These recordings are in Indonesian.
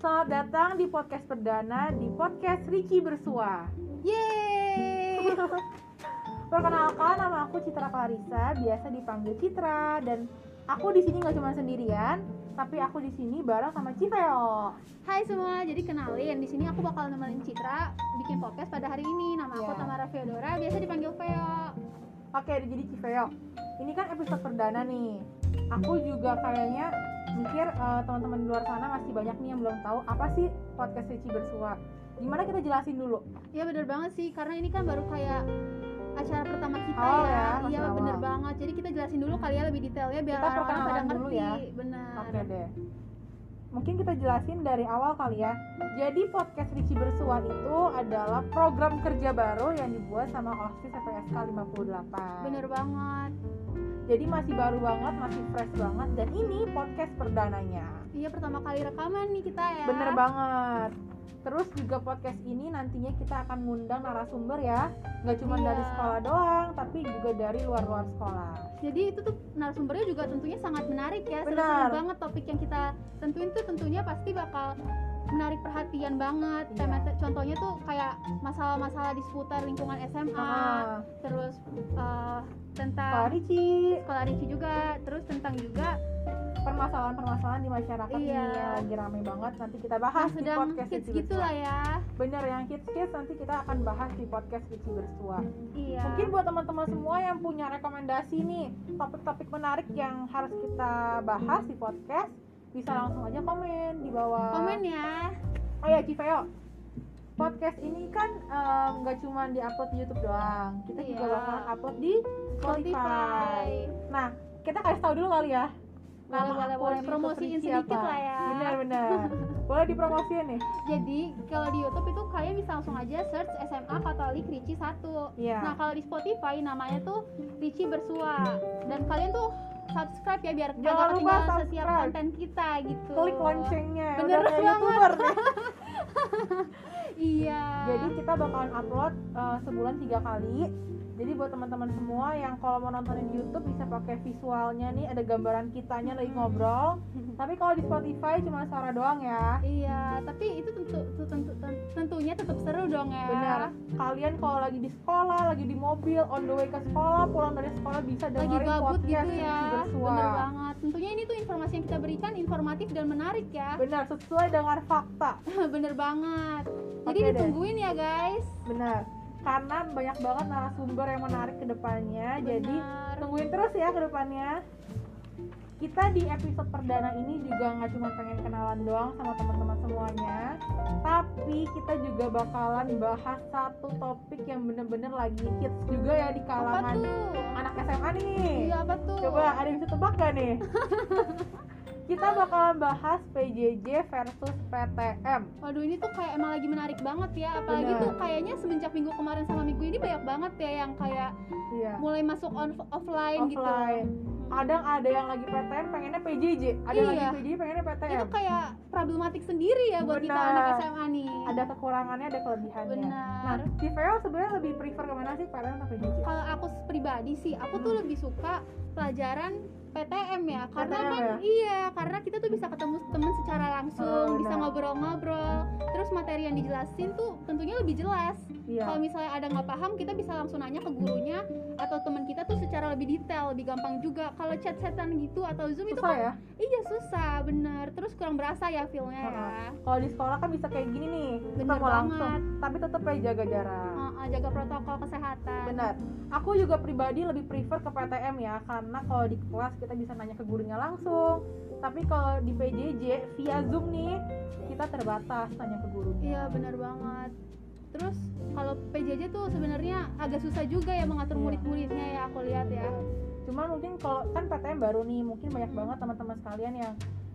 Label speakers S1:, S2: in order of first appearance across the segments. S1: datang di podcast perdana di podcast Riki Bersua.
S2: Yeay.
S1: Perkenalkan nama aku Citra Clarissa, biasa dipanggil Citra dan aku di sini nggak cuma sendirian, tapi aku di sini bareng sama Civeo.
S2: Hai semua, jadi kenalin di sini aku bakal nemenin Citra bikin podcast pada hari ini. Nama aku
S1: Ya.
S2: Tamara Feodora, biasa dipanggil Feo.
S1: Oke, jadi Civeo. Ini kan episode perdana nih. Aku juga kayaknya mikir eh, teman-teman di luar sana masih banyak nih yang belum tahu apa sih podcast Riki Bersua. Gimana kita jelasin dulu?
S2: Ya bener banget sih, karena ini kan baru kayak acara pertama kita
S1: Awal
S2: ya.
S1: ya, masih
S2: Iya
S1: awal.
S2: bener banget. Jadi kita jelasin dulu kali ya lebih detailnya biar
S1: Kita
S2: orang-orang pada
S1: perkenalan dulu
S2: ngerti.
S1: ya.
S2: Benar.
S1: Oke deh. Mungkin kita jelasin dari awal kali ya. Jadi podcast Riki Bersua itu adalah program kerja baru yang dibuat sama OSIS FPSK 58.
S2: Bener banget.
S1: Jadi masih baru banget, masih fresh banget dan ini podcast perdananya.
S2: Iya pertama kali rekaman nih kita ya.
S1: Bener banget. Terus juga podcast ini nantinya kita akan ngundang narasumber ya. Nggak cuma
S2: Iya.
S1: dari sekolah doang, tapi juga dari luar-luar sekolah.
S2: Jadi itu tuh narasumbernya juga tentunya sangat menarik ya. Seru-seru
S1: Benar.
S2: banget topik yang kita tentuin tuh tentunya pasti bakal menarik perhatian banget.
S1: Iya.
S2: Tema contohnya tuh kayak masalah-masalah di seputar lingkungan SMA,
S1: Ah,
S2: terus eh,
S1: Pak
S2: tentang
S1: Riki,
S2: sekolah Riki juga, terus tentang juga
S1: permasalahan-permasalahan di masyarakat
S2: Iya.
S1: ini yang lagi rame banget nanti kita bahas
S2: yang
S1: di
S2: sedang
S1: podcast
S2: kids
S1: Riki
S2: gitu
S1: Bersua.
S2: lah ya.
S1: Bener yang kids-kids nanti kita akan bahas di podcast Riki Bersua.
S2: Iya.
S1: Mungkin buat teman-teman semua yang punya rekomendasi nih topik-topik menarik yang harus kita bahas di podcast bisa langsung aja komen di bawah.
S2: komen ya.
S1: Oh ya Civeo, podcast ini kan em, nggak cuma diupload di YouTube doang, kita juga
S2: Iya.
S1: bakal upload di Spotify.
S2: Spotify.
S1: Nah, kita kasih tahu dulu kali ya. Nama
S2: Boleh, boleh,
S1: aku
S2: boleh.
S1: di
S2: Promosiin
S1: YouTube
S2: sedikit
S1: siapa?
S2: lah ya.
S1: Benar-benar. Boleh dipromosiin nih.
S2: Jadi kalau di YouTube itu kalian bisa langsung aja search SMA Katolik Ricci 1.
S1: Iya.
S2: Nah, kalau di Spotify namanya tuh Ricci Bersua. Dan kalian tuh subscribe ya biar
S1: Jangan
S2: kagak
S1: lupa
S2: ketinggalan setiap
S1: subscribe.
S2: konten kita gitu.
S1: Klik loncengnya.
S2: Bener
S1: Udah kayak
S2: banget.
S1: YouTuber nih.
S2: Iya.
S1: Jadi kita bakalan upload eh, sebulan tiga kali. Jadi buat teman-teman semua yang kalau mau nontonin di YouTube bisa pakai visualnya nih ada gambaran kitanya
S2: Hmm.
S1: lagi ngobrol. Tapi kalau di Spotify cuma suara doang ya.
S2: iya, tapi itu tentu, tu- tentu, ten- tentunya tetap seru dong ya.
S1: Benar. Kalian kalau lagi di sekolah, lagi di mobil, on the way ke sekolah, pulang dari sekolah bisa
S2: Lagi
S1: dengerin
S2: gabut
S1: podcast
S2: gitu ya.
S1: Riki Bersua.
S2: Bener banget. Tentunya ini tuh informasi yang kita berikan informatif dan menarik ya.
S1: Benar, sesuai dengan fakta.
S2: Bener banget. Jadi
S1: Oke deh.
S2: ditungguin ya, guys.
S1: Benar. Karena banyak banget narasumber yang menarik ke depannya. Jadi
S2: Bener.
S1: tungguin terus ya ke depannya. Kita di episode perdana ini juga nggak cuma pengen kenalan doang sama teman-teman semuanya, tapi kita juga bakalan bahas satu topik yang bener-bener lagi hits juga ya di
S2: apa
S1: kalangan
S2: tuh?
S1: anak SMA nih.
S2: Iya apa tuh?
S1: Coba ada yang bisa tebak gak nih? kita bakalan bahas PJJ versus PTM.
S2: Waduh ini tuh kayak emang lagi menarik banget ya Apalagi
S1: Benar.
S2: tuh kayaknya semenjak minggu kemarin sama minggu ini banyak banget ya Yang kayak
S1: Iya.
S2: mulai masuk on, offline, gitu
S1: Offline. Kadang ada yang lagi PTM pengennya PJJ, ada yang
S2: Iya.
S1: lagi PJJ pengennya PTM.
S2: Itu kayak problematik sendiri ya buat kita
S1: Benar.
S2: anak SMA nih
S1: Ada kekurangannya, ada kelebihannya. Nah,
S2: Benar
S1: si Vero sebenarnya lebih prefer kemana sih PTM atau PJJ?
S2: Kalau aku pribadi sih aku
S1: Hmm.
S2: tuh lebih suka pelajaran PTM ya Karena
S1: PTM
S2: kan
S1: ya?
S2: iya karena kita tuh bisa ketemu temen secara langsung
S1: Oh,
S2: Bisa
S1: benar.
S2: ngobrol-ngobrol Terus materi yang dijelasin tuh tentunya lebih jelas
S1: Iya.
S2: Kalau misalnya ada nggak paham, kita bisa langsung nanya ke gurunya atau teman kita tuh secara lebih detail, lebih gampang juga. Kalau chat-chatan gitu atau zoom itu
S1: Susah
S2: kan-
S1: ya.
S2: iya susah, bener. Terus kurang berasa ya feelnya ya.
S1: Kalau di sekolah kan bisa kayak gini nih,
S2: Bener Ah.
S1: ketemu langsung, tapi tetap aja jaga jarak.
S2: Heeh, jaga protokol kesehatan.
S1: Benar. Aku juga pribadi lebih prefer ke PTM ya, karena kalau di kelas kita bisa nanya ke gurunya langsung. Tapi kalau di PJJ via Zoom nih, kita terbatas tanya ke gurunya.
S2: Iya bener banget. Terus kalau PJJ tuh sebenarnya agak susah juga ya mengatur
S1: Iya.
S2: murid-muridnya ya aku lihat ya.
S1: Cuman mungkin kalau kan PTM baru nih, mungkin banyak banget teman-teman sekalian yang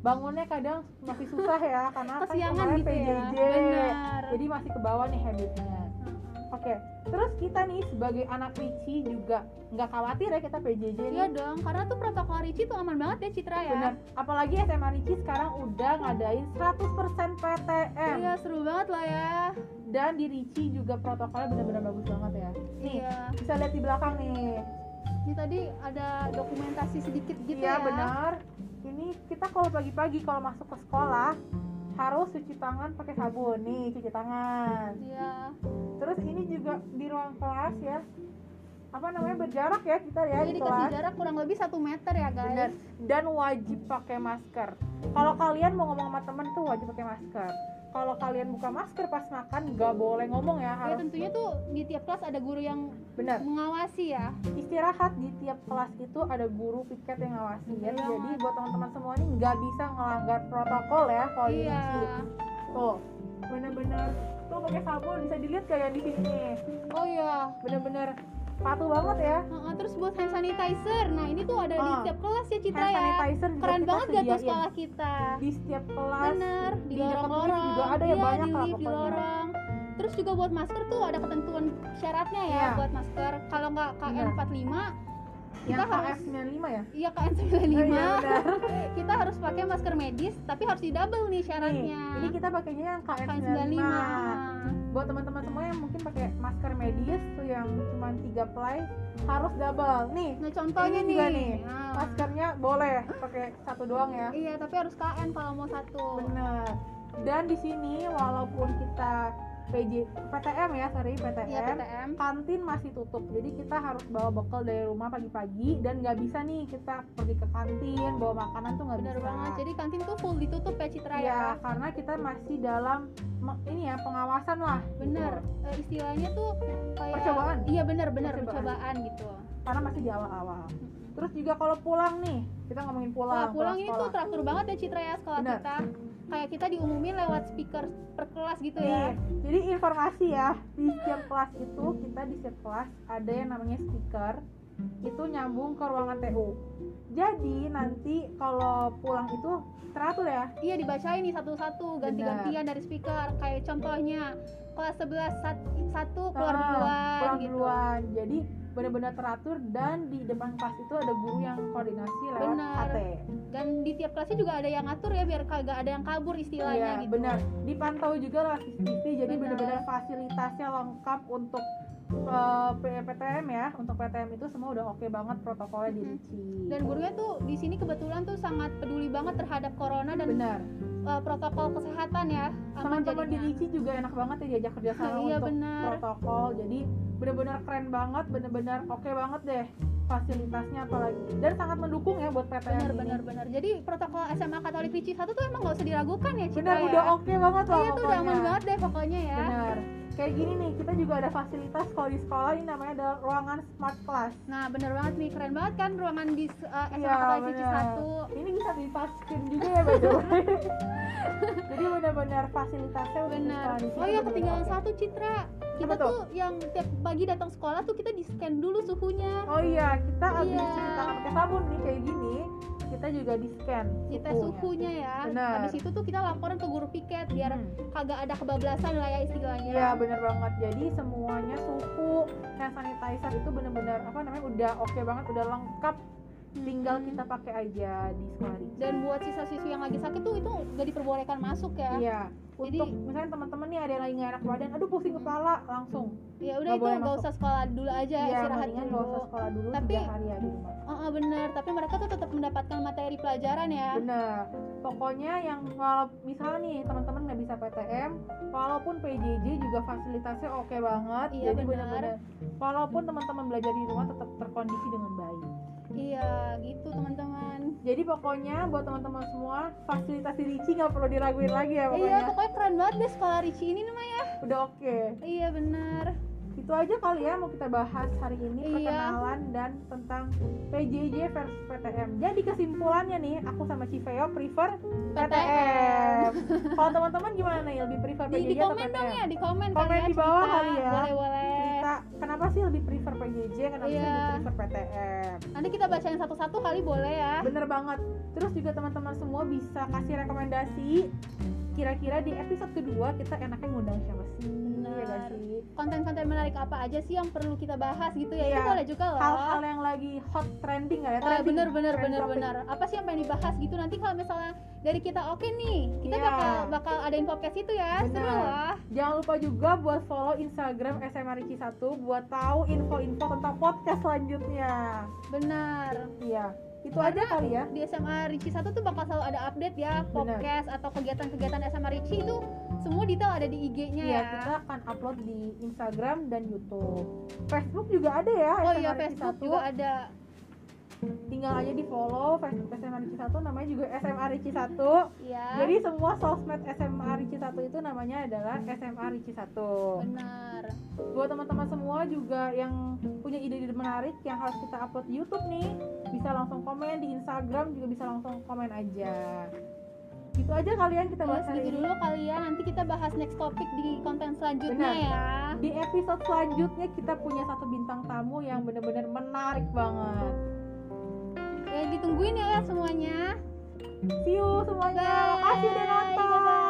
S1: bangunnya kadang masih susah ya, karena kan
S2: Kesiangan
S1: kemarin
S2: gitu ya.
S1: PJJ.
S2: Bener.
S1: Jadi masih ke bawah nih habitnya.
S2: Heeh.
S1: Oke, terus kita nih sebagai anak Ricci juga nggak khawatir ya kita PJJ nih.
S2: Iya dong, karena tuh protokol Ricci tuh aman banget ya Citra ya.
S1: Benar. Apalagi SMA Ricci sekarang udah ngadain 100% PTM
S2: Iya seru banget lah ya.
S1: dan di Ricci juga protokolnya benar-benar bagus banget ya. Nih,
S2: Iya.
S1: bisa lihat di belakang nih.
S2: Ini tadi ada dokumentasi sedikit gitu
S1: iya,
S2: ya.
S1: benar. Ini kita kalau pagi-pagi kalau masuk ke sekolah harus cuci tangan pakai sabun nih cuci tangan
S2: Iya.
S1: terus ini juga di ruang kelas ya apa namanya berjarak ya kita ya
S2: Jadi
S1: di
S2: Iya, dikasih
S1: kelas
S2: jarak kurang lebih satu meter ya guys.
S1: Bener. dan wajib pakai masker kalau kalian mau ngomong sama temen tuh wajib pakai masker kalau kalian buka masker pas makan nggak boleh ngomong ya
S2: Ya
S1: harus
S2: tentunya tuh di tiap kelas ada guru yang
S1: bener
S2: mengawasi ya.
S1: istirahat di tiap kelas itu ada guru piket yang ngawasin
S2: Iya
S1: jadi
S2: banget.
S1: buat teman-teman semua ini nggak bisa ngelanggar protokol ya kalau di
S2: iya.
S1: sini. tuh bener-bener tuh pakai sabun bisa dilihat kayak di sini nih.
S2: Oh iya.
S1: bener-bener patuh banget ya
S2: Heeh, terus buat hand sanitizer. Nah, ini tuh ada di
S1: Ah.
S2: tiap kelas ya Citra
S1: hand
S2: ya.
S1: sanitizer juga
S2: Keren
S1: kita
S2: banget gak tuh
S1: sediain.
S2: sekolah kita?
S1: di setiap kelas
S2: Bener, di
S1: di dekat lift
S2: lorong-lorong.
S1: juga ada ya,
S2: Iya,
S1: banyak
S2: di
S1: lah
S2: lift, di
S1: pokoknya.
S2: lorong. Terus juga buat masker tuh ada ketentuan syaratnya ya
S1: Iya.
S2: buat masker. Kalau nggak
S1: Iya.
S2: KN45,
S1: yang
S2: kita harus
S1: KF95 ya
S2: iya
S1: Oh,
S2: KN95.
S1: iya, bener.
S2: kita harus pakai masker medis, tapi harus di double nih
S1: Nih,
S2: syaratnya.
S1: ini Iya, kita pakainya yang KF95
S2: KN95.
S1: buat teman-teman semua yang mungkin pakai masker medis tuh yang cuma 3 ply harus double nih
S2: Nah, contohnya
S1: Ini
S2: nih.
S1: juga nih,
S2: Nah.
S1: maskernya boleh pakai satu doang ya
S2: Iya, tapi harus KN kalau mau satu.
S1: bener dan di sini walaupun kita PJ PTM ya sorry PTM,
S2: Iya, PTM.
S1: kantin masih tutup jadi kita harus bawa bekal dari rumah pagi-pagi dan nggak bisa nih kita pergi ke kantin bawa makanan tuh nggak
S2: Bener
S1: bisa
S2: banget. Jadi kantin tuh full ditutup ya Citra ya.
S1: ya karena kita masih dalam me- ini ya pengawasan lah
S2: Bener.
S1: gitu.
S2: Eh, istilahnya tuh kayak
S1: Percobaan.
S2: Iya, bener bener
S1: Percobaan.
S2: percobaan, gitu.
S1: karena masih di awal-awal terus juga kalau pulang nih kita ngomongin
S2: Kalau
S1: pulang
S2: pulang ini tuh
S1: sekolah.
S2: teratur banget ya Citra ya sekolah
S1: Bener.
S2: kita. Kayak kita diumumin lewat speaker per kelas gitu
S1: Nih,
S2: ya.
S1: Iya. jadi informasi ya di setiap kelas itu kita di setiap kelas ada yang namanya speaker itu nyambung ke ruangan TU. Jadi nanti kalau pulang itu teratur ya.
S2: Iya dibacain nih satu-satu ganti-gantian dari speaker kayak contohnya kelas 11 sat- satu keluar
S1: Ah,
S2: duluan
S1: Pulang
S2: gitu.
S1: duluan. Jadi benar-benar teratur dan di depan kelas itu ada guru yang koordinasi lewat
S2: Benar.
S1: KT.
S2: Dan di tiap kelasnya juga ada yang ngatur ya biar kagak ada yang kabur
S1: Iya,
S2: istilahnya gitu.
S1: benar. Dipantau juga lewat CCTV. Jadi
S2: Benar.
S1: benar-benar fasilitasnya lengkap untuk eh, PTM ya. Untuk PTM itu semua udah oke banget protokolnya
S2: Mhm.
S1: dirinci.
S2: Dan gurunya tuh di sini kebetulan tuh sangat peduli banget terhadap corona dan
S1: benar.
S2: uh, protokol kesehatan ya aman
S1: teman-teman di
S2: jadinya.
S1: Lici juga enak banget ya diajak kerjasama
S2: kan. iya
S1: untuk
S2: benar.
S1: protokol jadi bener-bener keren banget bener-bener oke banget deh fasilitasnya apalagi dan sangat mendukung ya buat PTN
S2: Benar
S1: ini
S2: benar benar. Jadi protokol SMA Katolik Ricci satu tuh emang nggak usah diragukan ya Citra
S1: bener
S2: ya.
S1: udah oke banget lah
S2: Iya tuh udah
S1: pokoknya
S2: aman banget deh pokoknya ya.
S1: bener kayak gini nih kita juga ada fasilitas kalau di sekolah ini namanya ada ruangan smart class
S2: Nah benar banget nih keren banget kan ruangan di uh, SMA
S1: Iya,
S2: Katolik Ricci
S1: benar.
S2: satu.
S1: ini bisa di touch screen juga ya by the way. jadi bener-bener fasilitasnya untuk
S2: Benar.
S1: sekolah di sini
S2: Oh iya
S1: bener-bener
S2: ketinggalan
S1: oke.
S2: satu Citra. Kita
S1: Apa tuh?
S2: tuh yang tiap pagi datang sekolah tuh kita di scan dulu suhunya.
S1: Oh iya, kita habis
S2: Iya.
S1: cuci tangan pakai sabun nih kayak gini, kita juga di scan.
S2: Kita suhunya ya.
S1: Benar.
S2: Habis itu tuh kita laporan ke guru piket biar ya. kagak ada kebablasan lah ya istilahnya.
S1: Hmm. Iya bener banget. Jadi semuanya suhu, hand sanitizer itu bener-bener apa namanya udah oke banget, udah lengkap. Tinggal kita pakai aja di sekolah. di-
S2: Hmm. dan buat siswa-siswi yang lagi sakit tuh itu gak diperbolehkan masuk ya
S1: Iya. Untuk
S2: Jadi-
S1: misalnya teman-teman nih ada yang lagi nggak enak badan, aduh pusing kepala langsung.
S2: ya udah
S1: Nggak
S2: itu
S1: boleh
S2: gak
S1: masuk.
S2: usah sekolah dulu aja
S1: Iya,
S2: istirahat
S1: mendingan
S2: dulu
S1: nggak usah sekolah dulu
S2: Tapi-
S1: tiga hari ya di rumah.
S2: oh, oh, bener tapi mereka tuh tetap mendapatkan materi pelajaran ya
S1: Bener. Pokoknya yang kalau misalnya nih teman-teman nggak bisa PTM, walaupun PJJ juga fasilitasnya oke banget.
S2: Iya,
S1: jadi
S2: benar.
S1: benar-benar walaupun teman-teman belajar di rumah tetap terkondisi dengan baik.
S2: iya gitu teman-teman
S1: Jadi pokoknya buat teman-teman semua fasilitas di Ricci nggak perlu diraguin lagi ya
S2: iya
S1: pokoknya.
S2: pokoknya keren banget deh sekolah Ricci ini nih Maya
S1: Udah oke.
S2: iya bener
S1: Itu aja kali ya mau kita bahas hari ini
S2: Iya.
S1: perkenalan dan tentang PJJ versus PTM. Jadi kesimpulannya nih, aku sama Civeo prefer PTM. Kalau teman-teman gimana nih lebih prefer
S2: di,
S1: PJJ
S2: di
S1: atau
S2: komen
S1: PTM?
S2: dong ya di komen
S1: Komen
S2: kali ya,
S1: di bawah
S2: cerita.
S1: kali ya.
S2: boleh boleh
S1: cerita kenapa sih lebih prefer PJJ kenapa
S2: Iya.
S1: sih lebih prefer PTM
S2: nanti kita bacain satu-satu kali boleh ya
S1: bener banget terus juga teman-teman semua bisa kasih rekomendasi kira-kira di episode kedua kita enaknya ngundang siapa sih ya gak
S2: bener
S1: sih
S2: konten-konten menarik apa aja sih yang perlu kita bahas gitu ya
S1: Iya.
S2: itu boleh juga loh
S1: hal-hal yang lagi hot trending nggak ya
S2: Oh,
S1: trending,
S2: bener bener
S1: trend
S2: bener
S1: topic.
S2: bener. Apa sih yang pengen dibahas gitu nanti kalau misalnya dari kita oke nih, kita
S1: Iya.
S2: bakal bakal adain podcast itu ya. Seru
S1: Bener.
S2: loh.
S1: jangan lupa juga buat follow Instagram SMA Ricci 1 buat tahu info-info tentang podcast selanjutnya
S2: Bener.
S1: iya itu aja kali ya
S2: di SMA Ricci 1 tuh bakal selalu ada update ya podcast atau kegiatan-kegiatan SMA Ricci itu semua detail ada di IG-nya
S1: Iya,
S2: ya
S1: kita akan upload di Instagram dan YouTube. Facebook juga ada ya,
S2: oh
S1: SMA
S2: iya
S1: Ricci
S2: Facebook
S1: 1.
S2: juga ada
S1: Tinggal aja di follow Facebook SMA Ricci 1 namanya juga SMA Ricci 1.
S2: ya
S1: Jadi semua sosmed SMA Ricci 1 itu namanya adalah SMA Ricci 1.
S2: benar
S1: Buat teman-teman semua juga yang punya ide-ide menarik yang harus kita upload di YouTube nih, bisa langsung komen di Instagram juga bisa langsung komen aja. Gitu aja kalian kita
S2: terus
S1: bahas hari
S2: gitu
S1: ini.
S2: dulu kali ya nanti kita bahas next topik di konten selanjutnya
S1: Benar.
S2: ya
S1: Di episode selanjutnya kita punya satu bintang tamu yang benar-benar menarik banget.
S2: ya ditungguin ya semuanya
S1: See you semuanya.
S2: Bye.
S1: Makasih udah nonton.
S2: Bye-bye.